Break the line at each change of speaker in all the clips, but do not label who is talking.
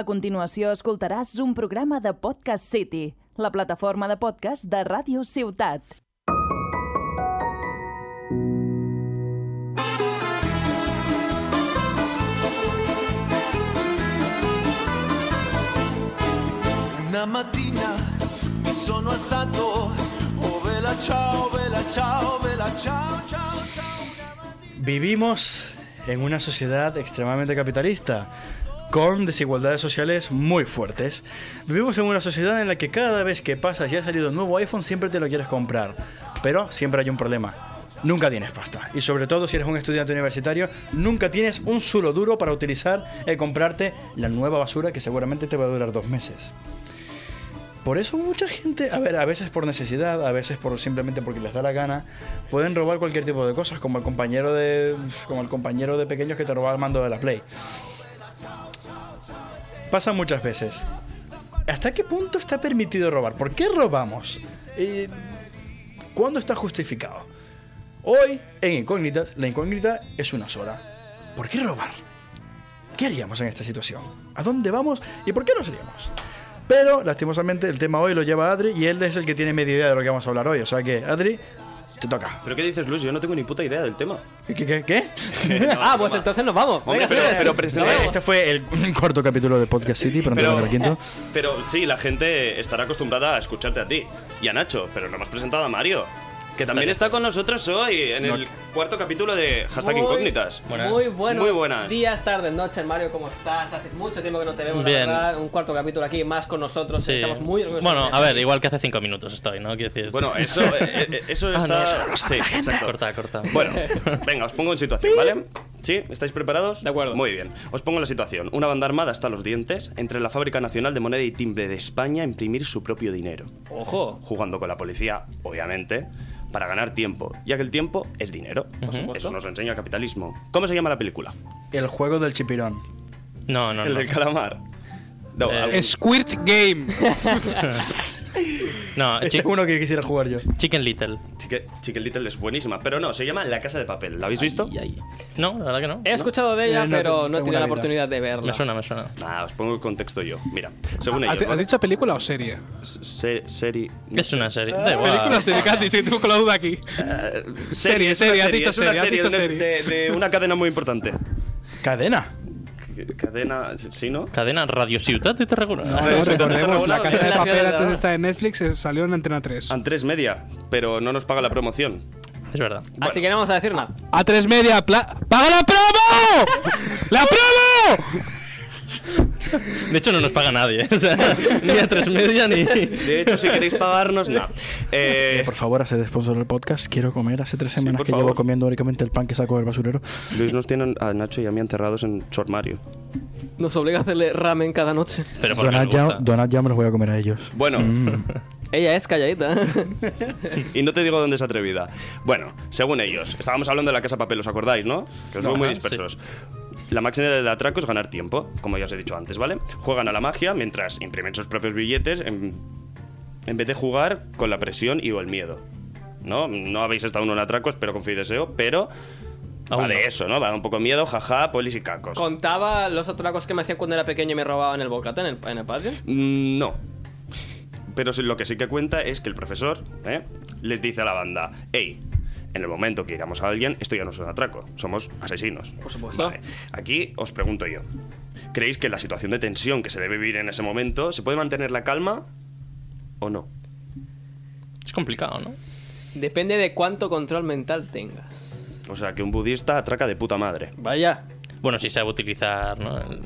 A continuació escoltaràs un programa de Podcast City, la plataforma de podcast de Ràdio Ciutat.
Una mattina mi sono alzato, oh vela ciao, vela ciao, vela ciao, ciao, ciao.
Vivimos en una sociedad extremadamente capitalista, con desigualdades sociales muy fuertes. Vivimos en una sociedad en la que cada vez que pasas y ha salido un nuevo iPhone siempre te lo quieres comprar, pero siempre hay un problema. Nunca tienes pasta. Y sobre todo si eres un estudiante universitario, nunca tienes un solo duro para utilizar y comprarte la nueva basura que seguramente te va a durar dos meses. Por eso mucha gente, a ver, a veces por necesidad, a veces por simplemente porque les da la gana, pueden robar cualquier tipo de cosas, como el compañero de como el compañero de pequeños que te robaba el mando de la Play. Pasa muchas veces. ¿Hasta qué punto está permitido robar? ¿Por qué robamos? Eh, ¿Cuándo está justificado? Hoy en Incógnitas, la incógnita es una sola. ¿Por qué robar? ¿Qué haríamos en esta situación? ¿A dónde vamos y por qué nos haríamos? Pero, lastimosamente, el tema hoy lo lleva Adri y él es el que tiene media idea de lo que vamos a hablar hoy. O sea que, Adri, te toca.
¿Pero qué dices, Luis? Yo no tengo ni puta idea del tema.
¿Qué? qué, qué, qué?
ah, pues entonces nos vamos.
Hombre,
Venga,
pero-
señores,
pero
nos
presenta-
vemos.
Este fue el cuarto capítulo de Podcast City, pero antes de
Pero,
ver el quinto.
pero sí, la gente estará acostumbrada a escucharte a ti y a Nacho, pero no hemos presentado a Mario, que también está con nosotros hoy en el cuarto capítulo de Hashtag
Muy-
Incógnitas.
Muy buenos
Muy buenas.
días, tardes, noches, Mario, ¿cómo estás? Hace mucho tiempo que no te vemos, la
Bien.
verdad. Un cuarto capítulo aquí más con nosotros.
Sí.
Estamos muy orgullosos
Bueno,
de-
a ver, igual que hace cinco minutos estoy, ¿no? Quiero decir.
Bueno, eso, eh, eh, eso
Ah,
está...
no, eso no lo
sí, exacto.
Corta, corta.
Bueno, venga, os pongo en situación, ¿vale? ¿Sí? ¿Estáis preparados?
De acuerdo.
Muy bien. Os pongo la situación. Una banda armada hasta los dientes entre la Fábrica Nacional de Moneda y Timbre de España a imprimir su propio dinero.
Ojo.
jugando con la policía, obviamente, para ganar tiempo, ya que el tiempo es dinero. Eso nos enseña el capitalismo. ¿Cómo se llama la película?
El juego del chipirón.
No, no,
el
no.
del calamar. No,
Eh,
algún-
Squirt Game.
No,
Ese
Chi-
es uno que quisiera jugar yo.
Chicken Little.
Chique- Chicken Little es buenísima, pero no, se llama La Casa de Papel. ¿La habéis visto?
Y ahí. No, la verdad que no.
He escuchado de ella,
Eh, no te-
pero no he
tengo
tenido
una
la
vida.
oportunidad de verla.
Me suena, me suena.
Ah, os pongo el contexto yo. Mira, según
¿Has,
ellos,
has
¿vale?
Ah, dicho película o serie?
Se- serie.
Es una serie.
Eh,
Da
Ah.
igual.
Película o serie, ¿qué has dicho? Que tengo con la duda aquí.
Serie, es una
serie, has dicho
es una
serie, has dicho
de- de- de una cadena muy importante.
Cadena.
Cadena, ¿sí, no?
Cadena Radio Ciutat de Tarragona.
eh.
No, recordemos,
Tarragona,
la casa
la ciudad de
de papel antes de
Tarragona.
estar en Netflix eh, salió en Antena 3.
Antres Media, pero no nos paga la promoción.
Es verdad.
Así que no vamos a decir nada.
A3 Media, pla- ¡paga la promo! ¡La promo!
De hecho, no nos paga nadie. O sea, ni a tres media ni.
De hecho, si queréis pagarnos, no. Eh,
Por favor, hace de sponsor el podcast. Quiero comer. Hace tres semanas
por
que llevo
favor.
comiendo únicamente el pan que saco del basurero.
Luis nos tiene a Nacho y a mí enterrados en su armario.
Nos obliga a hacerle ramen cada noche.
Pero porque
Donat
nos
ya,
gusta.
donat ya me los voy a comer a ellos.
Bueno,
Mm.
Ella es calladita.
y no te digo dónde es atrevida. Bueno, según ellos, estábamos hablando de la casa papel, ¿os acordáis, no? Que os veo muy
Ajá,
dispersos. La máxima del atraco es ganar tiempo, como ya os he dicho antes, ¿vale? Juegan a la magia mientras imprimen sus propios billetes en, en vez de jugar con la presión y o el miedo. ¿No? No habéis estado en un atraco, espero con fe y deseo, pero
Aún
va de
no.
eso, ¿no? Va de un poco miedo, jaja, polis y cacos.
Contaba los atracos que me hacían cuando era pequeño y me robaban el bocata en el, en el patio.
Mm, No. Pero sí- lo que sí que cuenta es que el profesor ¿eh? les dice a la banda, hey, en el momento que iramos a alguien, esto ya no es un atraco, somos asesinos. Por
supuesto.
Aquí os pregunto yo, ¿creéis que la situación de tensión que se debe vivir en ese momento, se puede mantener la calma o no?
Es complicado, ¿no?
Depende de cuánto control mental tengas.
O sea, que un budista atraca de puta madre.
Vaya.
Bueno, si sabe utilizar, ¿no? El-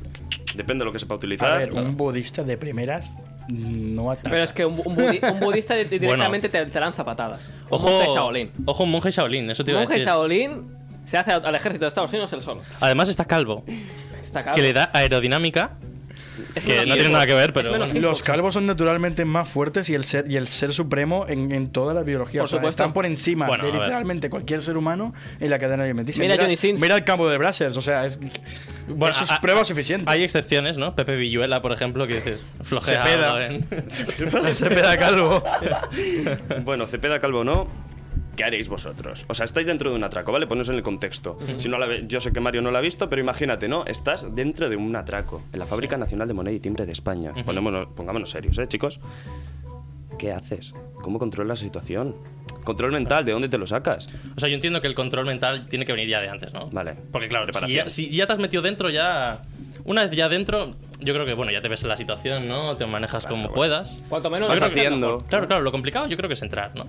Depende de lo que sepa utilizar.
A ver, un budista de primeras no ataca.
Pero es que un, bu- un budi- un budista di- directamente te, te lanza patadas. Un monje
Ojo,
Shaolin.
ojo, un monje Shaolin, eso te
Un
iba a
monje
decir.
Shaolin se hace al ejército de Estados Unidos el solo.
Además está calvo,
Está claro.
que le da aerodinámica.
Es
que
menos
no
hip-hop.
tiene nada que ver, pero
Es menos
bueno.
Los
hip-hop.
calvos son naturalmente más fuertes y el ser, y el ser supremo en, en toda la biología.
Por
O sea,
supuesto.
están por encima
Bueno,
de
a ver.
literalmente cualquier ser humano en la cadena alimenticia.
Mira Johnny Sins.
mira el campo de Brassers. O sea, es,
Bueno,
eso es
a- a-
prueba suficiente.
Hay excepciones, ¿no? Pepe Villuela, por ejemplo, que dices, flojea. ¿eh?
Cepeda.
¿no? En-
se peda calvo.
Bueno, Cepeda Calvo no. ¿qué haréis vosotros? O sea, estáis dentro de un atraco, ¿vale? Poneros en el contexto. Si no la ve- yo sé que Mario no la ha visto, pero imagínate, ¿no? Estás dentro de un atraco en la Fábrica Nacional de Moneda y Timbre de España. Ponémonos- pongámonos serios, ¿eh, chicos? ¿Qué haces? ¿Cómo controlas la situación? Control mental, ¿de dónde te lo sacas?
O sea, yo entiendo que el control mental tiene que venir ya de antes, ¿no?
Vale.
Porque claro, si
Preparación.
ya, si ya te has metido dentro, ya... Una vez ya dentro, yo creo que, bueno, ya te ves en la situación, ¿no? Te manejas
Claro,
como
bueno.
puedas.
Cuanto menos
Vas
lo pienses,
haciendo.
mejor.
Claro, claro, lo complicado yo creo que es entrar, ¿no?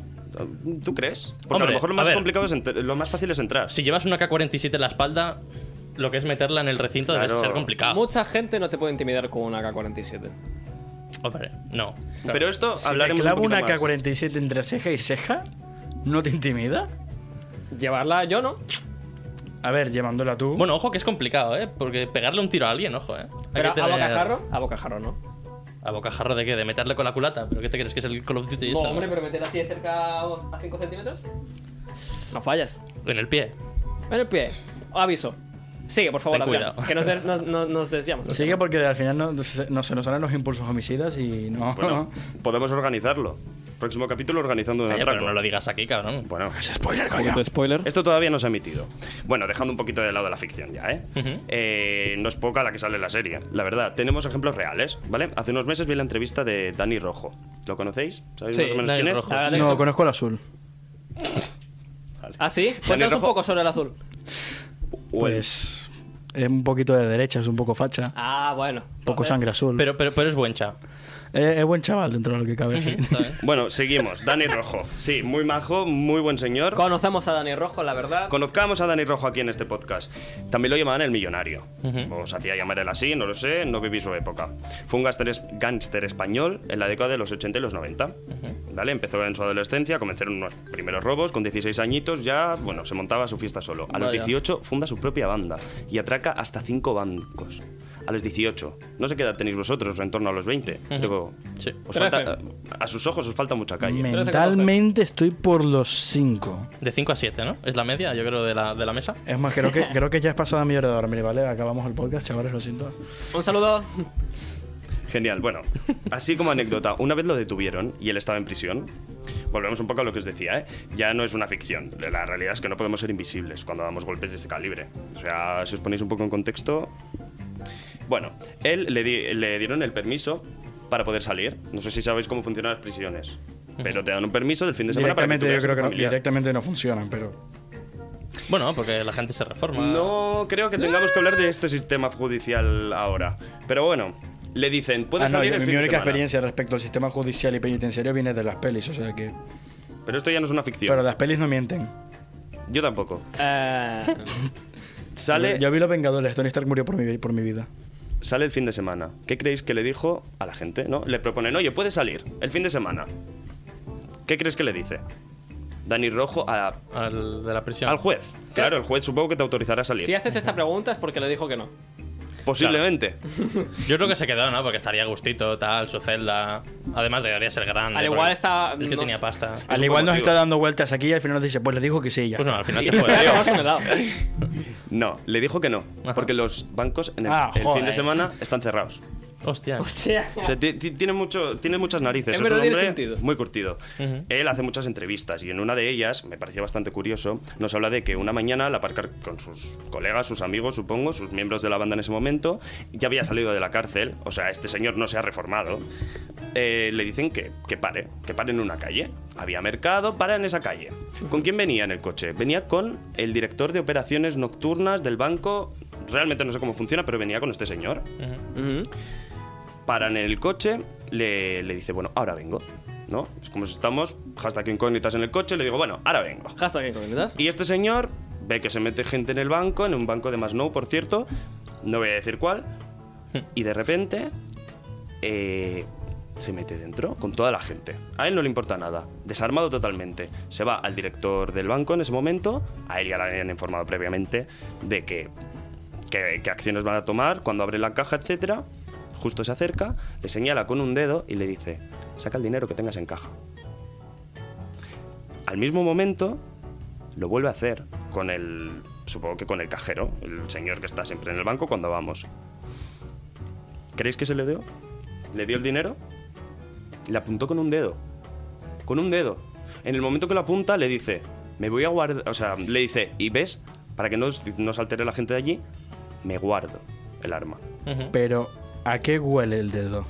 ¿Tú crees? Porque a
Hombre,
lo mejor lo
a
más
ver.
complicado es entr- lo más fácil es entrar.
Si llevas una K-47 en la espalda, lo que es meterla en el recinto
Claro.
debe ser complicado.
Mucha gente no te puede intimidar con una K-47.
Hombre, no.
Pero esto
Si te
hablaremos un
clavo
poquito
una
más.
K47 entre ceja y ceja, ¿no te intimida?
Llevarla yo no.
A ver, llevándola tú.
Bueno, ojo que es complicado, ¿eh? Porque pegarle un tiro a alguien, ojo, ¿eh? Hay
Pero
que
a
tener-
bocajarro. A bocajarro no.
¿A bocajarro de qué? ¿De meterle con la culata? ¿Pero qué te crees que es el Call of Duty? este? esto?
meterla así de cerca a 5 centímetros. No fallas.
En el pie.
En el pie. Aviso. Sigue, por favor,
Ten
Adrián,
cuidado.
Que nos, de- nos- nos- nos desviamos.
Sigue porque al final no, no se nos harán los impulsos homicidas y no.
Bueno, podemos organizarlo. Próximo capítulo organizando un
Calla,
atraco.
pero no lo digas aquí, cabrón.
Bueno,
spoiler.
esto todavía no se ha emitido. Bueno, dejando un poquito de lado la ficción ya, ¿eh? Eh, No es poca la que sale en la serie, la verdad. Tenemos ejemplos reales, ¿vale? Hace unos meses vi la entrevista de Dani Rojo. ¿Lo conocéis? ¿Sabéis
Sí,
más o menos
Dani
quién es?
Rojo.
Ahora
no,
tengo-
conozco el azul.
¿Ah, sí? Cuéntanos un
Rojo.
poco sobre el azul.
O el-
Pues es un poquito de derecha, es un poco facha,
Ah, bueno.
poco
Entonces,
sangre azul.
Pero, pero, pero es buen cha.
Eh, es buen chaval dentro de lo que cabe. sí.
Está bien.
Bueno, seguimos. Dani Rojo. Sí, muy majo, muy buen señor.
Conocemos a Dani Rojo, la verdad.
Conozcamos a Dani Rojo aquí en este podcast. También lo llamaban el millonario. O se hacía llamar él así, no lo sé, no viví su época. Fue un gángster, es- gángster español en la década de los 80 y los 90. ¿Vale? Empezó en su adolescencia, comenzaron unos primeros robos, con 16 añitos ya, bueno, se montaba su fiesta solo. A los
Vaya.
18 funda su propia banda y atraca hasta 5 bancos. A los 18. No sé qué edad tenéis vosotros, en torno a los 20. Digo,
Sí.
os
Trece.
falta- a sus ojos os falta mucha calle.
Mentalmente estoy por los 5.
De 5 a 7, ¿no? Es la media, yo creo, de la, de la mesa.
Es más, creo que, creo que ya es pasada mi hora de dormir, ¿vale? Acabamos el podcast, chavales, lo siento.
Un saludo.
Genial, bueno, así como anécdota, una vez lo detuvieron y él estaba en prisión, volvemos un poco a lo que os decía, ¿eh? ya no es una ficción, la realidad es que no podemos ser invisibles cuando damos golpes de ese calibre. O sea, si os ponéis un poco en contexto... Bueno, él le, di- le dieron el permiso para poder salir, no sé si sabéis cómo funcionan las prisiones, pero te dan un permiso del fin de semana para que
Directamente,
tú
yo
veas a tu
creo que no,
familia.
directamente no funcionan, pero.
Bueno, porque la gente se reforma.
No creo que tengamos que hablar de este sistema judicial ahora, pero bueno, le dicen, puedes
Ah, no,
salir
yo-
el
mi
fin de
única
semana.
experiencia respecto al sistema judicial y penitenciario viene de las pelis, o sea que.
Pero esto ya no es una ficción,
Pero las pelis no mienten.
yo tampoco.
Eh,
Sale,
Yo vi Los Vengadores, Tony Stark murió por mi, por mi vida.
sale el fin de semana. ¿Qué creéis que le dijo a la gente? ¿No? Le proponen, oye, puedes salir el fin de semana. ¿Qué crees que le dice? Dani Rojo a-
Al de la prisión.
al juez. Claro, el juez supongo que te autorizará a salir.
si haces esta pregunta es porque le dijo que no.
Posiblemente.
Yo creo que se quedó, ¿no? Porque estaría a gustito, tal, su celda. Además, debería ser grande.
Al
porque
igual está-
El que
no
tenía
sé.
pasta.
Es
Al
un
igual
buen
nos
motivo.
está dando vueltas aquí y al final nos dice, pues le dijo que sí, y ya.
Pues no,
está.
al final se
Se va a
fue.
tomarse un helado.
No, le dijo que no.
Ajá.
Porque los bancos en el,
Ah,
el fin
joder.
de semana están cerrados.
Hostia.
O sea,
O sea, ti- ti- tiene, mucho, tiene muchas narices.
En
Es un
verdad tiene
hombre
sentido.
muy curtido. Él hace muchas entrevistas y en una de ellas, me parecía bastante curioso, nos habla de que una mañana al aparcar con sus colegas, sus amigos, supongo, sus miembros de la banda en ese momento, ya había salido de la cárcel, o sea, este señor no se ha reformado, eh, le dicen que, que pare, que pare en una calle. Había mercado, para en esa calle. ¿Con quién venía en el coche? Venía con el director de operaciones nocturnas del banco, realmente no sé cómo funciona, pero venía con este señor
ujú.
paran el coche, le, le dice, bueno, ahora vengo, ¿no? Es como si estamos, hashtag incógnitas en el coche, le digo, bueno, ahora vengo.
Hashtag incógnitas.
Y este señor ve que se mete gente en el banco, en un banco de Masnou, por cierto, no voy a decir cuál, y de repente eh, se mete dentro con toda la gente. A él no le importa nada, desarmado totalmente. Se va al director del banco en ese momento, a él ya le habían informado previamente de que qué, qué acciones van a tomar, cuando abre la caja, etcétera. Justo se acerca, le señala con un dedo y le dice, saca el dinero que tengas en caja. Al mismo momento, lo vuelve a hacer con el, supongo que con el cajero, el señor que está siempre en el banco cuando vamos. ¿Creéis que se le dio? ¿Le dio el dinero? Le apuntó con un dedo. Con un dedo. En el momento que lo apunta, le dice, me voy a guardar, o sea, le dice, y ves, para que no, os- no se altere la gente de allí, me guardo el arma.
Ujú.
Pero, ¿a qué huele el dedo?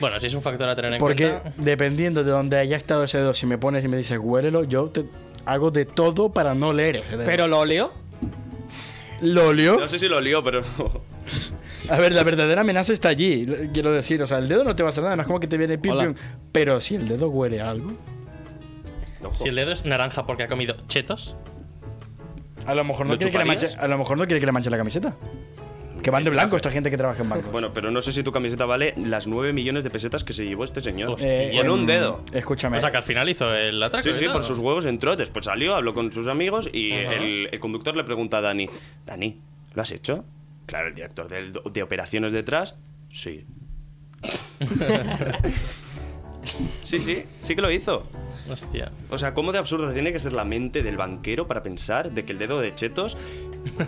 Bueno, si es un factor a tener en
Porque
cuenta.
dependiendo de donde haya estado ese dedo, si me pones y me dices huélelo, yo te hago de todo para no leer ese dedo.
Pero lo leo.
¿Lo olió?
No sé si lo lió, pero.
A ver, la verdadera amenaza está allí, lo- quiero decir. O sea, el dedo no te va a hacer nada, no es como que te viene pim,
Hola.
pim. Pero si el dedo huele a algo,
Ojo.
Si el dedo es naranja porque ha comido chetos,
a lo mejor no,
¿Lo
quiere que, le
chuparías?
manche, a lo mejor no quiere que le manche la camiseta. Que van de blanco esta gente que trabaja en bancos.
Bueno, pero no sé si tu camiseta vale las 9 millones de pesetas que se llevó este señor.
Hostia.
con un
em,
dedo.
Escúchame.
o sea que al final hizo el atraco.
Sí,
y
sí,
tal,
por
¿no?
sus huevos en trotes. Pues salió, habló con sus amigos y
Ajá.
el, el conductor le pregunta a Dani, Dani, ¿lo has hecho? Claro, el director del- de, operaciones detrás, sí. sí, sí, sí que lo hizo.
Hostia.
O sea, ¿cómo de absurda tiene que ser la mente del banquero para pensar de que el dedo de Chetos,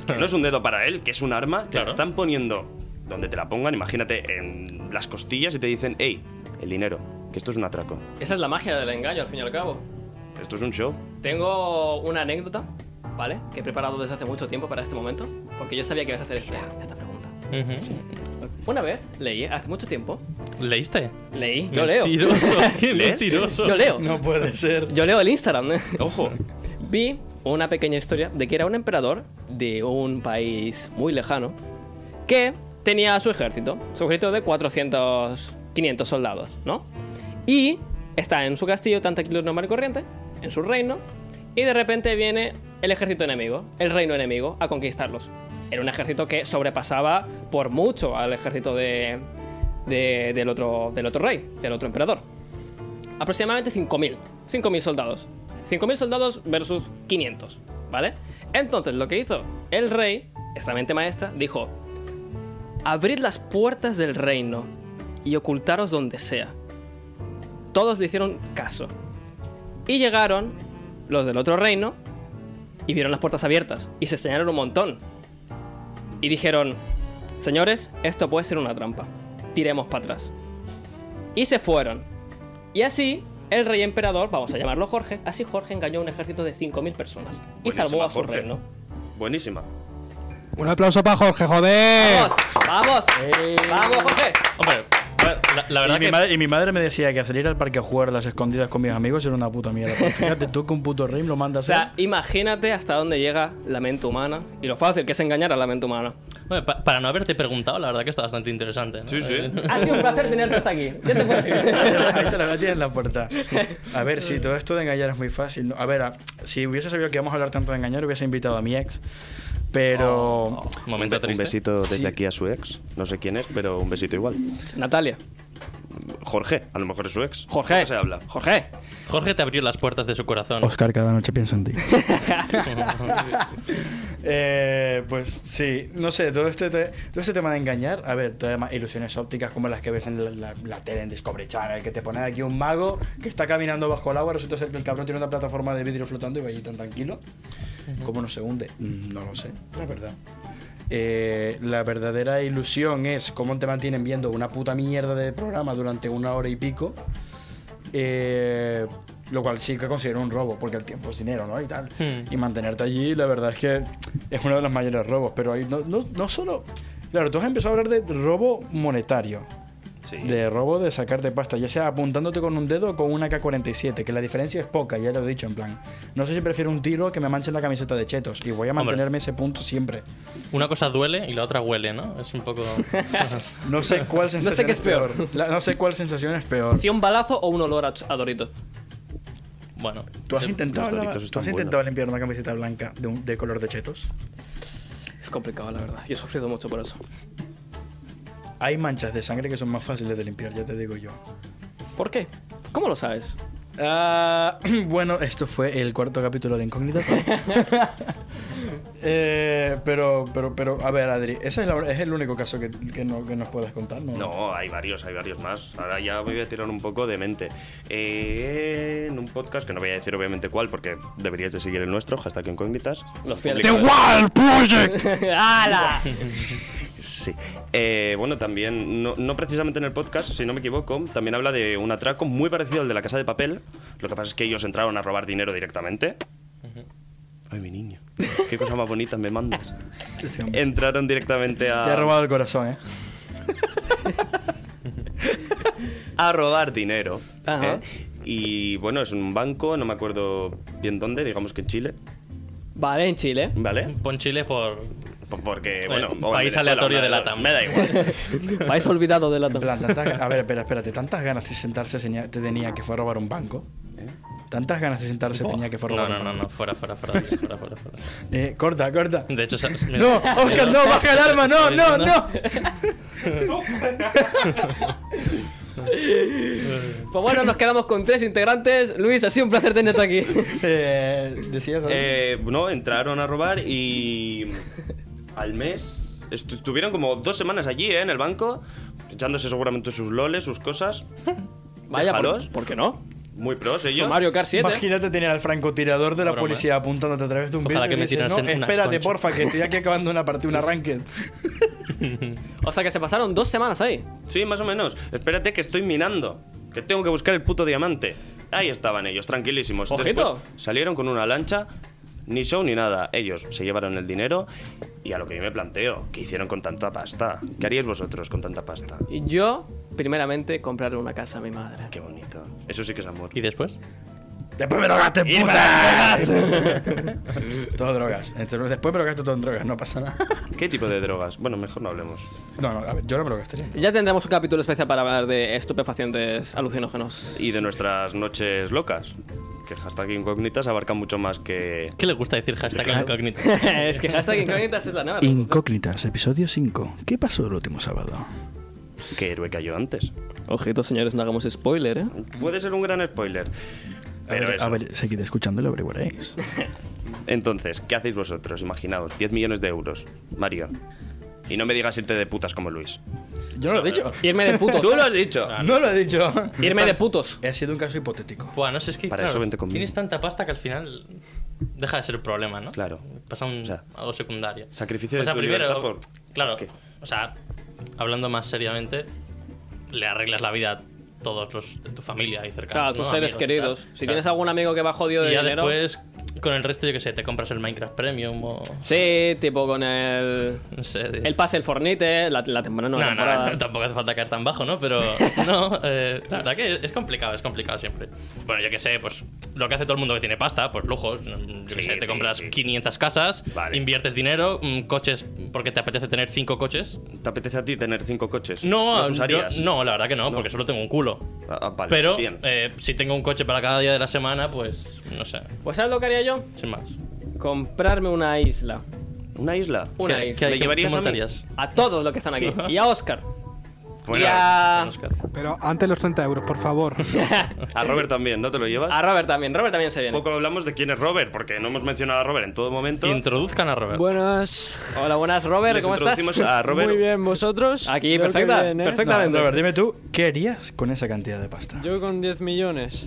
que no es un dedo para él, que es un arma, te la
Claro.
están poniendo donde te la pongan, imagínate, en las costillas y te dicen, hey, el dinero, que esto es un atraco,
Esa es la magia del engaño, al fin y al cabo.
esto es un show.
Tengo una anécdota, ¿vale? Que he preparado desde hace mucho tiempo para este momento, porque yo sabía que ibas a hacer esta, esta pregunta.
Ujú.
Una vez leí, hace mucho tiempo,
¿Leíste?
leí, yo leo,
Mentiroso. qué
¿Lees?
mentiroso.
yo leo,
No puede ser.
yo leo el Instagram.
Ojo.
Vi una pequeña historia de que era un emperador de un país muy lejano que tenía su ejército, su ejército de 400, 500 soldados, ¿no? Y está en su castillo, tan tranquilo, normal y corriente, en su reino, y de repente viene el ejército enemigo, el reino enemigo, a conquistarlos. Era un ejército que sobrepasaba por mucho al ejército de, de- del, otro, del otro rey, del otro emperador aproximadamente 5.000. 5.000 soldados. 5.000 soldados versus 500, ¿vale? Entonces, lo que hizo el rey, esta mente maestra, dijo, abrid las puertas del reino y ocultaros donde sea. Todos le hicieron caso. Y llegaron los del otro reino y vieron las puertas abiertas y se señalaron un montón. Y dijeron, señores, esto puede ser una trampa. Tiremos para atrás. Y se fueron. Y así, el rey emperador, vamos a llamarlo Jorge, así Jorge engañó a un ejército de 5.000 personas y
Buenísima,
salvó a su
Jorge.
reino.
Buenísima.
Un aplauso para Jorge, joder.
¡Vamos! ¡Vamos! ¡Vamos, Jorge!
Hombre, la, la verdad
y, mi
que.
madre, y mi madre me decía que salir al parque a jugar a las escondidas con mis amigos era una puta mierda. Pero Fíjate tú que un puto rey lo manda a
O
hacer.
sea, imagínate hasta dónde llega la mente humana y lo fácil que es engañar a la mente humana.
Hombre, pa- para no haberte preguntado, la verdad que está bastante interesante. ¿no? Eh,
Sí, sí.
Ha sido un placer tenerte hasta aquí. Ya te puedes ir.
Ahí te la tienes en la puerta. A ver, sí, todo esto de engañar es muy fácil. ¿no? A ver, a- si hubiese sabido que íbamos a hablar tanto de engañar, hubiese invitado a mi ex.
Oh,
Pero.
Momento
un, be- un
triste.
besito desde
Sí.
aquí a su ex. No sé quién es, pero un besito igual.
Natalia,
Jorge, a lo mejor es su ex.
Jorge.
No se habla.
Jorge,
Jorge te abrió las puertas de su corazón.
Oscar, cada noche pienso en ti. Eh, pues sí, no sé, todo este, te- todo este tema de engañar, a ver, todo tema- ilusiones ópticas como las que ves en la, la- la tele en Discovery Channel, que te ponen aquí un mago que está caminando bajo el agua, resulta ser que el cabrón tiene una plataforma de vidrio flotando y va allí tan tranquilo. ¿Cómo no se hunde? Mm, No lo sé, la verdad. Eh, la verdadera ilusión es cómo te mantienen viendo una puta mierda de programa durante una hora y pico. Eh, lo cual sí que considero un robo, porque el tiempo es dinero, ¿no? Y tal.
Hmm.
Y mantenerte allí, la verdad es que es uno de los mayores robos. Pero ahí no, no, no solo. Claro, tú has empezado a hablar de robo monetario.
Sí.
De robo de sacarte pasta, ya sea apuntándote con un dedo o con una K-47, que la diferencia es poca, ya lo he dicho en plan. No sé si prefiero un tiro que me manche la camiseta de chetos, y voy a
Hombre.
mantenerme ese punto siempre.
Una cosa duele y la otra huele, ¿no? Es un poco.
No sé cuál sensación
qué es peor.
La- no sé cuál sensación es peor.
si un balazo o un olor a, ch- a Dorito.
bueno.
¿Tú has
Eh,
intentado,
los
lavar-
doritos
tú
están
has
buenos.
intentado limpiar una camiseta blanca de, un- de color de chetos?
Es complicado, la verdad. Yo he sufrido mucho por eso.
Hay manchas de sangre que son más fáciles de limpiar, ya te digo yo.
¿Por qué? ¿Cómo lo sabes?
Ah, bueno, esto fue el cuarto capítulo de Incógnita. Eh, pero, pero, pero, a ver, Adri, ese es, la- es el único caso que, que no- que nos puedes contar, ¿no?
No, hay varios, hay varios más. Ahora ya me voy a tirar un poco de mente. Eh, en un podcast que no voy a decir obviamente cuál, porque deberíais de seguir el nuestro, hashtag incógnitas.
Los fieles.
The Wild Project.
¡Hala!
Sí. Eh, bueno, también, no, no precisamente en el podcast, si no me equivoco, también habla de un atraco muy parecido al de la casa de papel. Lo que pasa es que ellos entraron a robar dinero directamente. Ay, mi niño. Qué cosa más bonita me mandas. Entraron directamente
Te Este ha
a,
robado el corazón, ¿eh?
a robar dinero.
Ajá.
¿eh? Y bueno, es un banco, no me acuerdo bien dónde, digamos que en Chile.
Vale, en Chile.
¿Vale?
Pon Chile por.
P- Porque, bueno,
un
o en
país
Venezuela,
aleatorio
una
de
dos.
Latam.
Me da igual.
País olvidado de la
En plan, tantas ganas- A ver, espera, espérate. Tantas ganas de sentarse tenía- te tenía que fue a robar un banco. Tantas ganas de sentarse tenía que fue a
No,
robar
¿Eh? no,
un
no,
banco.
no, fuera, fuera, fuera, fuera, fuera, fuera.
Eh, corta, corta.
De hecho, se- mira,
No,
se me
Oscar,
lo-
no, baja el arma, no,
se me
no,
lo-
no.
Pues bueno, nos quedamos con tres integrantes. Luis, ha sido un placer tenerte aquí.
Eh, decías algo.
Eh, no, entraron a robar y al mes estu- estuvieron como dos semanas allí, ¿eh? En el banco, echándose seguramente sus loles, sus cosas.
Vaya,
Déjalos.
¿por, ¿por qué no?
Muy pros ellos.
Son Mario Kart 7.
Imagínate tener al francotirador de la
Broma, ¿eh?
policía apuntándote a través de un
Ojalá
vidrio
que
y
me
dices,
tirasen
no,
una
espérate,
concha".
porfa, que estoy aquí acabando una partida, un arranque.
O sea que se pasaron dos semanas ahí.
Sí, más o menos. Espérate que estoy minando. Que tengo que buscar el puto diamante. Ahí estaban ellos, tranquilísimos.
Ojito.
Después salieron con una lancha, ni show ni nada. Ellos se llevaron el dinero y a lo que yo me planteo, ¿qué hicieron con tanta pasta? ¿Qué haríais vosotros con tanta pasta?
Y Yo, primeramente, comprarle una casa a mi madre.
Qué bonito. Eso sí que es amor.
¿Y después?
Después me lo gasté, puta. todo drogas. Entonces, Después me lo gasto todo en drogas, no pasa nada.
¿Qué tipo de drogas? Bueno, mejor no hablemos.
No, no, a ver, yo no me lo gastaría.
Ya tendremos un capítulo especial para hablar de estupefacientes alucinógenos.
Y de nuestras noches locas, que hashtag incógnitas abarca mucho más que...
¿Qué le gusta decir hashtag incógnito?
es que hashtag incógnitas es la nueva.
Incógnitas, episodio 5. ¿Qué pasó el último sábado?
¿Qué héroe cayó antes?
Ojito, señores, no hagamos spoiler, ¿eh?
Puede ser un gran spoiler.
A
Pero
ver,
eso.
a ver, seguid escuchando y lo averiguaréis.
Entonces, ¿qué hacéis vosotros? Imaginaos, 10 millones de euros, Mario. Y no me digas irte de putas como Luis.
Yo no lo he dicho.
Irme de putos.
Tú lo has dicho.
Ah.
No lo he dicho.
Irme de putos.
Ha sido un caso hipotético.
Buah, no sé, es que
Para
claro,
eso vente conmigo.
tienes tanta pasta que al final deja de ser un problema, ¿no?
Claro.
Pasa un,
O sea,
algo secundario.
sacrificio
o
de
sea,
tu
primero,
libertad por-
Claro,
¿Qué?
o sea, hablando más seriamente, le arreglas la vida a todos los de tu familia y cercanos.
Claro, tus
¿no?
seres
Amigos,
queridos.
tal.
Si
Claro.
tienes algún amigo que va jodido de
Y ya
dinero.
después, con el resto, yo qué sé, te compras el Minecraft Premium o...
Sí, tipo con el.
No sé.
El pase, el fornite, la, la temporada
No,
nueva
no,
temporada.
tampoco hace falta caer tan bajo, ¿no? Pero no, eh, la verdad que es complicado, es complicado siempre. Bueno, yo qué sé, pues lo que hace todo el mundo que tiene pasta, pues lujos. Yo qué
Sí,
sé, te
sí,
compras
sí.
500 casas,
Vale.
inviertes dinero, mm, coches porque te apetece tener 5 coches.
¿Te apetece a ti tener cinco coches?
No,
¿Los
yo-
usarías?
no, la verdad que no, porque solo tengo un culo.
Ah, ah, vale,
Pero
bien.
eh, si tengo un coche para cada día de la semana, pues no sé,
Pues ¿sabes lo que haría yo?
sin más.
Comprarme una isla.
¿Una isla?
Una
¿Qué-
isla.
¿Me
¿Qué-
llevarías a mí?
montarías?
A todos los que están aquí. Y a Oscar.
Bueno,
y a.
Oscar.
Pero antes los 30 euros, por favor.
A Robert también, ¿no te lo llevas?
Ah,
A Robert también. Robert también se viene.
Poco hablamos de quién es Robert, porque no hemos mencionado a Robert en todo momento.
Introduzcan a Robert.
Buenas.
Hola, buenas, Robert.
Les
¿Cómo estás?
introducimos a Robert.
Muy bien, ¿vosotros?
Aquí,
Creo que
perfecta,
bien, ¿eh?
perfecta.
No,
Exactamente.
Robert, dime tú, ¿qué harías con esa cantidad de pasta?
Yo con 10 millones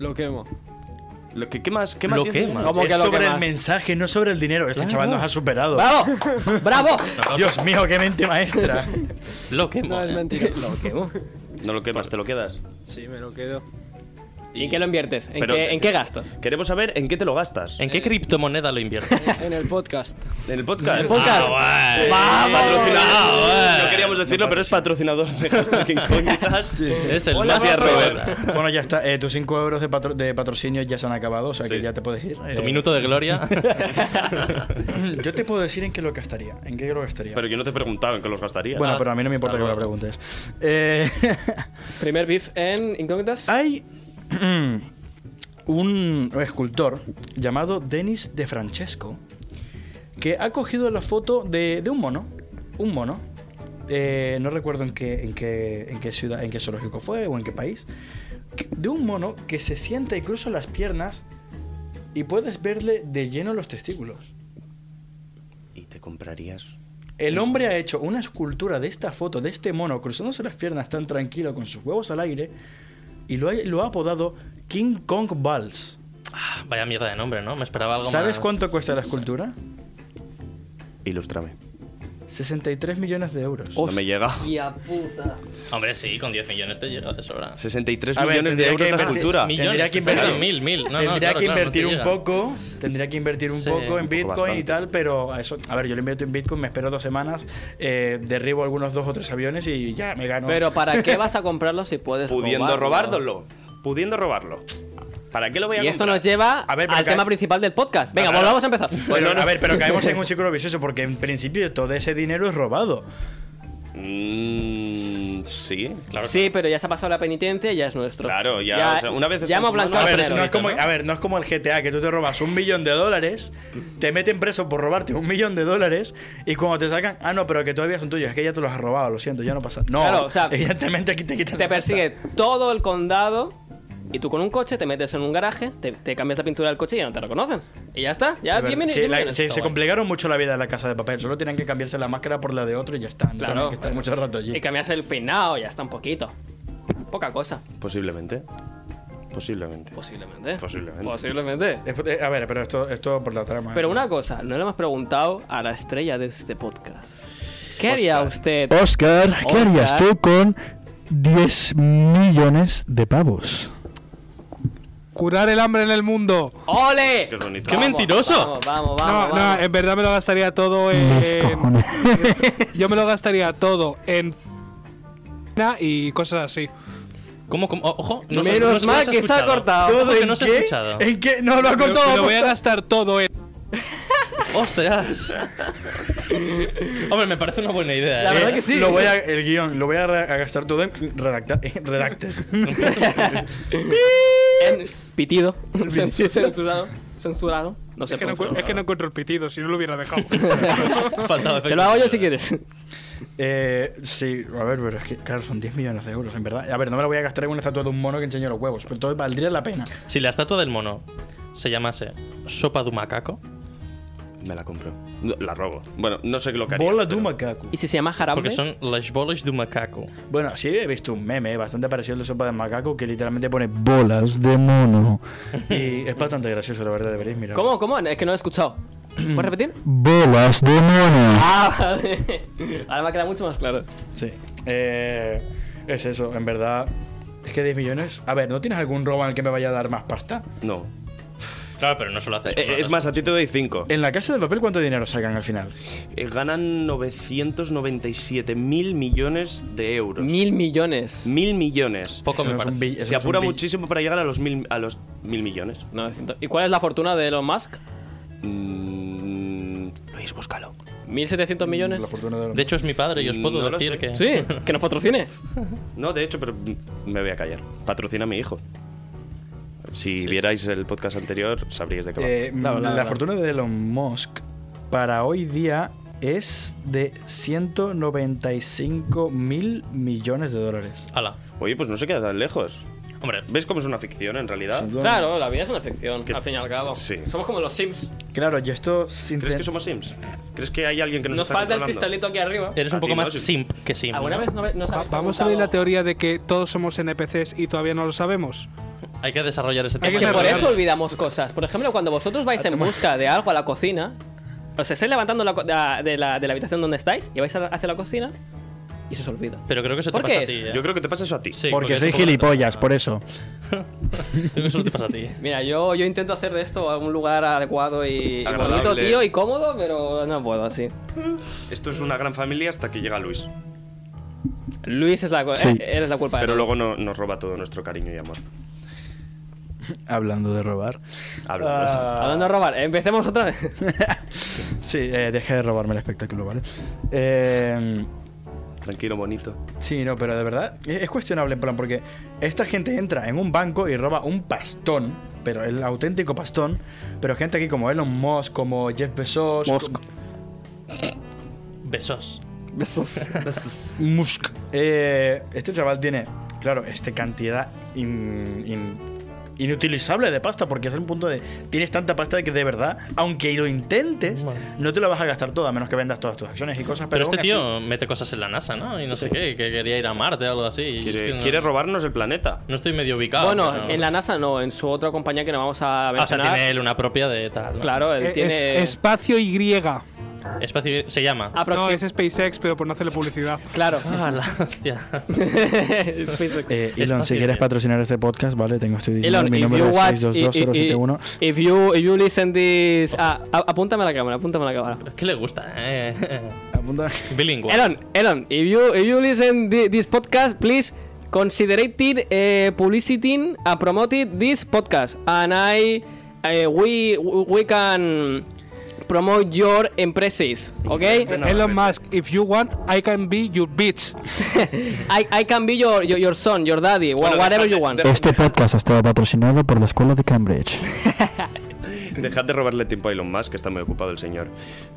lo quemo.
Lo que, ¿Qué más? ¿Qué más?
Lo
dices?
quemas.
¿Cómo que
es
lo
sobre
que
el
más?
mensaje, no sobre el dinero. Este chaval nos ha superado.
¡Bravo! ¡Bravo!
Dios mío, qué mente maestra.
Lo que
No, es mentira.
eh. Lo quemo.
No lo quemas, te lo quedas.
Sí, me lo quedo.
¿Y en qué lo inviertes? ¿En,
Pero-
qué, en qué gastas?
Queremos saber en qué te lo gastas.
¿En qué criptomoneda lo inviertes?
En el podcast.
En el podcast.
¿En el podcast?
guay.
¡Vamos!
Patrocinado, No queríamos decirlo, pero es patrocinador de Hashtag Incógnitas.
Es el
Hola,
más
Gracias,
Robert.
Robert.
bueno, ya está. Eh, tus 5 euros de, patro- de patrocinio ya se han acabado, o sea que
Sí.
ya te puedes ir. Eh,
Tu minuto de gloria.
Yo te puedo decir en qué lo gastaría. ¿En qué lo gastaría?
Pero yo no te he preguntado en qué los gastaría.
bueno,
Ah,
pero a mí no me importa que me lo
claro.
preguntes. Eh,
Primer beef en incógnitas.
hay un escultor llamado Denis de Francesco que ha cogido la foto de, de un mono. Un mono. Eh, no recuerdo en qué, en, qué, en qué ciudad, en qué zoológico fue o en qué país. que- De un mono que se sienta y cruza las piernas y puedes verle de lleno los testículos.
¿Y te comprarías?
El hombre ha hecho una escultura de esta foto, de este mono, cruzándose las piernas tan tranquilo con sus huevos al aire, y lo ha, lo ha apodado King Kong Balls.
Ah, Vaya mierda de nombre, ¿no? Me esperaba algo más.
¿Sabes cuánto cuesta la escultura?
Ilústrame.
63 millones de euros.
No me llega.
Hostia puta.
Hombre, sí, con 10 millones te llega de sobra.
63
A ver,
millones de
tendría que
euros la
invertir-
Ah,
cultura.
mi-
Millones,
Tendría que
pensaba,
invertir-
mil, mil. No, no,
tendría
claro,
que
claro, no te
invertir un
llega.
poco, tendría que invertir un
Sí,
poco en
un poco
Bitcoin y
bastante.
tal, pero a eso, a ver, yo lo invierto en Bitcoin, me espero dos semanas, eh, derribo algunos dos o tres aviones y ya me gano.
Pero ¿para qué vas a comprarlo si puedes
Pudiendo
robarlo?
robárnoslo. Pudiendo robarlo. ¿Para qué lo voy a
Y esto
comprar?
nos lleva
A ver, pero
al
que-
tema principal del podcast. Venga,
Claro.
volvamos a empezar.
Pero,
Bueno, no.
a ver, pero caemos en un círculo vicioso porque en principio todo ese dinero es robado.
Mm, sí.
Claro.
Sí, pero ya se ha pasado la penitencia y ya es nuestro.
Claro, ya, o sea, una vez
ya
estás
hemos
fumando-
blanqueado
a,
el
ver,
dinero.
no es como,
¿no?
a ver, no es como el GTA, que tú te robas un millón de dólares, te meten preso por robarte un millón de dólares y cuando te sacan, ah, no, pero que todavía son tuyos, es que ya te los has robado, lo siento, ya no pasa. No,
Claro, o sea,
evidentemente aquí te quitan.
Te
la
persigue todo el condado y tú con un coche te metes en un garaje, te, te cambias la pintura del coche y ya no te reconocen. Y ya está, ya
plata.
10 minutos.
Sí, la- se, se complicaron mucho la vida de la casa de papel, solo tienen que cambiarse la máscara por la de otro y ya está. No
Claro,
tienen que estar
claro.
mucho rato allí.
Y cambias el peinado, ya está un poquito. Poca cosa,
Posiblemente. Posiblemente.
posiblemente.
Posiblemente.
Posiblemente.
Después- eh, a ver, pero esto, esto por la trama. ¿eh?
Pero una cosa, no le hemos preguntado a la estrella de este podcast. ¿Qué haría usted?
Oscar, ¿qué
Oscar.
harías tú con 10 millones de pavos?
Curar el hambre en el mundo.
¡Ole!
Qué bonito.
¡Qué mentiroso!
Vamos, vamos, vamos.
no, em-
vamos.
no, en verdad me lo gastaría todo
Eh,
en.
Mis cojones.
Yo me lo gastaría todo en. Y cosas así.
¿Cómo, cómo? O- Ojo, no sé- no
Menos
sé- no
mal
se ha
que se ha
escuchado.
cortado.
Ojo,
¿Todo
que
en
no se ha
qué?
escuchado.
¿En qué? No, lo ha
Me,
cortado.
me lo voy a gastar todo en.
¡Ostras! Hombre, me parece una buena idea.
La
¿eh?
verdad
Eh,
que sí.
Lo voy a, el guión, lo voy a, re- a gastar todo en redacta, en redacte.
En- Pitido. Censu- Censurado. Censurado. No sé
Es que, no,
cómo
encu-
se
es que no
llama.
encuentro el pitido, si no lo hubiera dejado.
Faltaba
Te lo hago yo si quieres.
Eh, sí, a ver, pero es que, claro, son 10 millones de euros, en verdad. A ver, no me la voy a gastar en una estatua de un mono que enseñe los huevos, pero entonces valdría la pena.
Si la estatua del mono se llamase Sopa de un macaco,
Me la compro. No, La robo. Bueno, no sé lo que haría.
Bola de
pero-
un macaco.
¿Y si se llama Jarambe?
porque son las bolas de un macaco.
Bueno, sí he visto un meme bastante parecido al de sopa de macaco que literalmente pone bo-
Bolas de mono.
y es bastante gracioso, la verdad, deberéis mirar.
¿Cómo? ¿Cómo? Es que no lo he escuchado. ¿Puedes repetir?
Bolas de mono.
Ah, vale. Ahora me ha quedado mucho más claro.
Sí. Eh, es eso, en verdad. Es que 10 millones. A ver, ¿no tienes algún robo en el que me vaya a dar más pasta?
No.
Claro, pero no solo hace.
Eh, eh, es más, a ti te doy 5.
En la casa de papel, ¿cuánto dinero sacan al final?
Eh, ganan 997 mil millones de euros.
Mil millones.
Mil millones.
Eso
poco me
no es un
parece.
bill- eso
Se
no es un
apura
bill-
muchísimo para llegar a los mil, a los mil millones.
900. ¿Y cuál es la fortuna de Elon Musk?
Mm, Luis, búscalo.
¿1700 millones?
La fortuna de los-
De hecho, es mi padre y os puedo
Mm, No lo
decir
sé.
que.
Sí, que nos patrocine.
No, de hecho, pero mm, me voy a callar. Patrocina a mi hijo. Si vierais el podcast anterior, sabríais de qué va.
Eh,
Claro,
la,
la- la-
fortuna de Elon Musk para hoy día es de 195 mil millones de dólares.
Ala.
Oye, pues no se queda tan lejos.
Hombre,
¿Ves cómo es una ficción en realidad?
Claro, la vida es una ficción,
Que-
al fin y al cabo.
Sí.
Somos como los Sims.
Claro, y esto sin
¿Crees
ten-
que somos Sims? ¿Crees que hay alguien que nos,
Nos
está
falta el
controlando? Eh,
cristalito aquí arriba.
eres
A
un poco
ti no,
más
sí.
simp que simp.
¿Alguna
¿no?
vez no, nos habéis
Vamos a ver la
preguntado-
teoría de que todos somos NPCs y todavía no lo sabemos.
Hay que desarrollar ese tema.
Es que por
desarrollarlo.
eso olvidamos cosas. Por ejemplo, cuando vosotros vais en busca de algo a la cocina, os estáis levantando la co- de, la, de la- de la habitación donde estáis y vais a la- hacia la cocina y se os olvida.
Pero creo que eso te
¿Por
pasa
qué
a ti.
es?
¿eh?
Yo creo que te pasa eso a ti.
Sí,
Porque soy
es un poco-
gilipollas, por eso.
Creo que solo te pasa a ti.
Mira, yo, yo intento hacer de esto un lugar adecuado y, y
Agradable.
bonito, tío, y cómodo, pero no puedo así.
Esto es una gran familia hasta que llega Luis.
Luis es la, cu-
Sí.
eh, eres la culpa de
Pero
Luis.
luego no- nos roba todo nuestro cariño y amor.
Hablando de robar.
Habla.
Ah,
Hablando de robar, empecemos otra vez.
sí, eh, deja de robarme el espectáculo, ¿vale? Eh,
Tranquilo, bonito.
sí, no, pero de verdad e-, es, es cuestionable, en plan, porque esta gente entra en un banco y roba un pastón, pero el auténtico pastón, pero gente aquí como Elon Musk, como Jeff Bezos,
Musk.
Besos.
Besos.
Musk. Eh, este chaval tiene, claro, este cantidad in- in- inutilizable de pasta, porque es el punto de. Tienes tanta pasta de que de verdad, aunque lo intentes, no te la vas a gastar toda, a menos que vendas todas tus acciones y cosas.
Pero
Pero,
este
aún así-
tío mete cosas en la NASA, ¿no? Y no sé qué, que quería ir a Marte o algo así. Y
Quiere,
es que no,
quiere robarnos el planeta.
no estoy medio ubicado.
bueno,
pero-
en la NASA no, en su otra compañía que no vamos a
Ah, o sea,
mencionar.
tiene él una propia de tal. ¿no?
Claro, él
Eh,
tiene.
es- espacio Y.
Espacio se llama.
Aproxi-
No, es SpaceX, pero por no hacerle publicidad.
Claro.
Ah, la hostia.
SpaceX.
Eh, Elon, si
Espacio
quieres
bien.
patrocinar este podcast, vale, tengo estoy diciendo
Elon,
mi
if
número
you
es
watch, i- i- i-
6220771.
if you, if you listen this, ah, a- apúntame a la cámara, apúntame a la cámara.
¿Qué le gusta? Eh,
Apunta.
bilingüe.
Elon, Elon, if you, if you listen thi- this podcast, please consider it eh, publicity and promote it this podcast, and I, eh, we, we can promote your empresas, okay?
Elon Musk, if you want, I can be your bitch.
I, I can be your, your, your son, your daddy, wha-
Bueno,
whatever
deja-
you want.
deja-
Este podcast ha estado patrocinado por la Escuela de Cambridge.
Dejad de robarle tiempo a Elon Musk, que está muy ocupado el señor.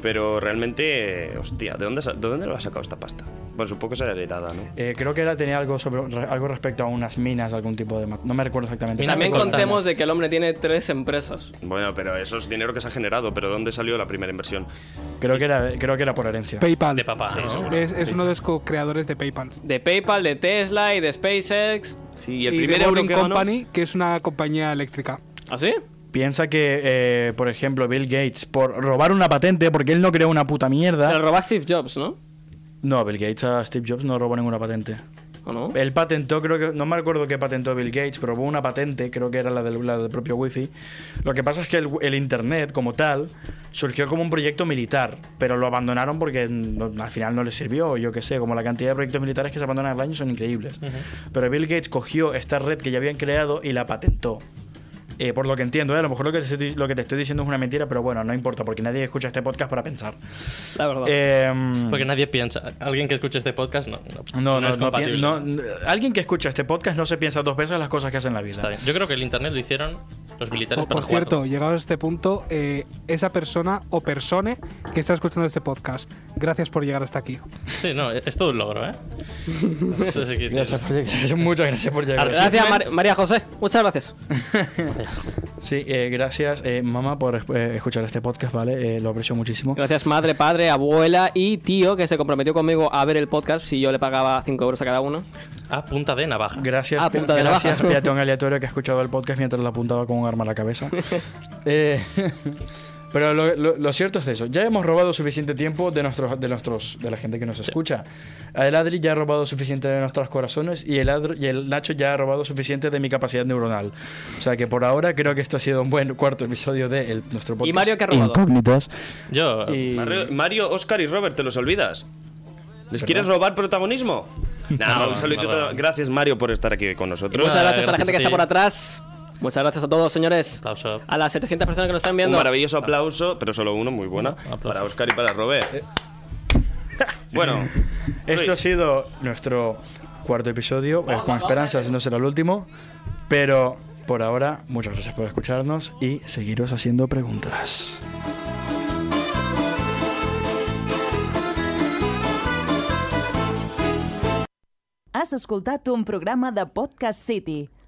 Pero realmente, eh, hostia, ¿de dónde, sa- ¿de dónde lo ha sacado esta pasta? Bueno, supongo que será heredada, ¿no?
Eh, creo que era tenía algo sobre re- algo respecto a unas minas, algún tipo de ma- no me recuerdo exactamente.
Minas
También
de coltán.
contemos de que el hombre tiene tres empresas.
Bueno, pero eso es dinero que se ha generado, pero ¿dónde salió la primera inversión?
Creo que era creo que era por herencia.
PayPal.
De papá, ¿no?
Es, es uno de los co-creadores de PayPal.
De PayPal, de Tesla y de SpaceX.
Sí, y el
de
primer euro
Boring
que ganó-
Company, que es una compañía eléctrica.
¿Ah, sí?
Piensa que eh, por ejemplo Bill Gates por robar una patente porque él no creó una puta
Se lo
mierda.
robó a Steve Jobs, ¿no?
No, Bill Gates a Steve Jobs no robó ninguna patente.
¿O no?
Él patentó, creo que, no me acuerdo qué patentó Bill Gates, pero hubo una patente, creo que era la del, la del propio Wi-Fi. Lo que pasa es que el, el Internet, como tal, surgió como un proyecto militar, pero lo abandonaron porque no- al final no les sirvió, o yo qué sé, como la cantidad de proyectos militares que se abandonan al año son increíbles. Pero Bill Gates cogió esta red que ya habían creado y la patentó. Eh, por lo que entiendo, eh, a lo mejor lo que, te estoy, lo que te estoy diciendo es una mentira, pero bueno, no importa, porque nadie escucha este podcast para pensar.
La verdad.
Em,
Porque nadie piensa. Alguien que escuche este podcast no, no,
no, no,
es
no,
compatible.
pi- no, no, alguien que escucha este podcast no se piensa dos veces las cosas que hace en la vida.
Está bien. Yo creo que el internet lo hicieron los militares
Oh, Por, por
para
cierto,
jugar.
llegados a este punto, eh, esa persona o persone que está escuchando este podcast, gracias por llegar hasta aquí.
Sí, no, es todo un logro, ¿eh? Eso sí que-
Gracias, Muchas gracias por llegar.
Gracias, Mar- María José. Muchas gracias.
Sí, eh, gracias, eh, mamá, por eh, escuchar este podcast, ¿vale? Eh, lo aprecio muchísimo.
Gracias, madre, padre, abuela y tío, que se comprometió conmigo a ver el podcast si yo le pagaba 5 euros a cada uno.
A Ah, punta de navaja.
Gracias,
Ah, punta de
gracias
navaja.
peatón aleatorio que ha escuchado el podcast mientras le apuntaba con un arma a la cabeza. Eh, pero lo, lo- lo cierto es eso. Ya hemos robado suficiente tiempo de nuestros, de nuestros, de la gente que nos escucha. El Adri ya ha robado suficiente de nuestros corazones y el, Adri- y el Nacho ya ha robado suficiente de mi capacidad neuronal. O sea que por ahora creo que esto ha sido un buen cuarto episodio de el- nuestro podcast.
Y Mario, que ha robado?
Incógnitas.
Yo.
Y-
Mario, Mario, Oscar y Robert, ¿te los olvidas? ¿Les quieres robar protagonismo? No, un saludito.
no, no.
Gracias, Mario, por estar aquí con nosotros.
Muchas
nada,
gracias a la gente que
gracias a
está
ti.
por atrás. Muchas gracias a todos, señores.
Aplauso.
A las 700 personas que nos están
Un
viendo.
maravilloso aplauso, pero solo uno, muy buena, para Oscar y para Robert. Bueno,
Esto ha
Luis,
sido nuestro cuarto episodio, eh, con esperanzas no será el último, pero por ahora muchas gracias por escucharnos y seguiros haciendo preguntas.
Has escoltat un programa de Podcast City,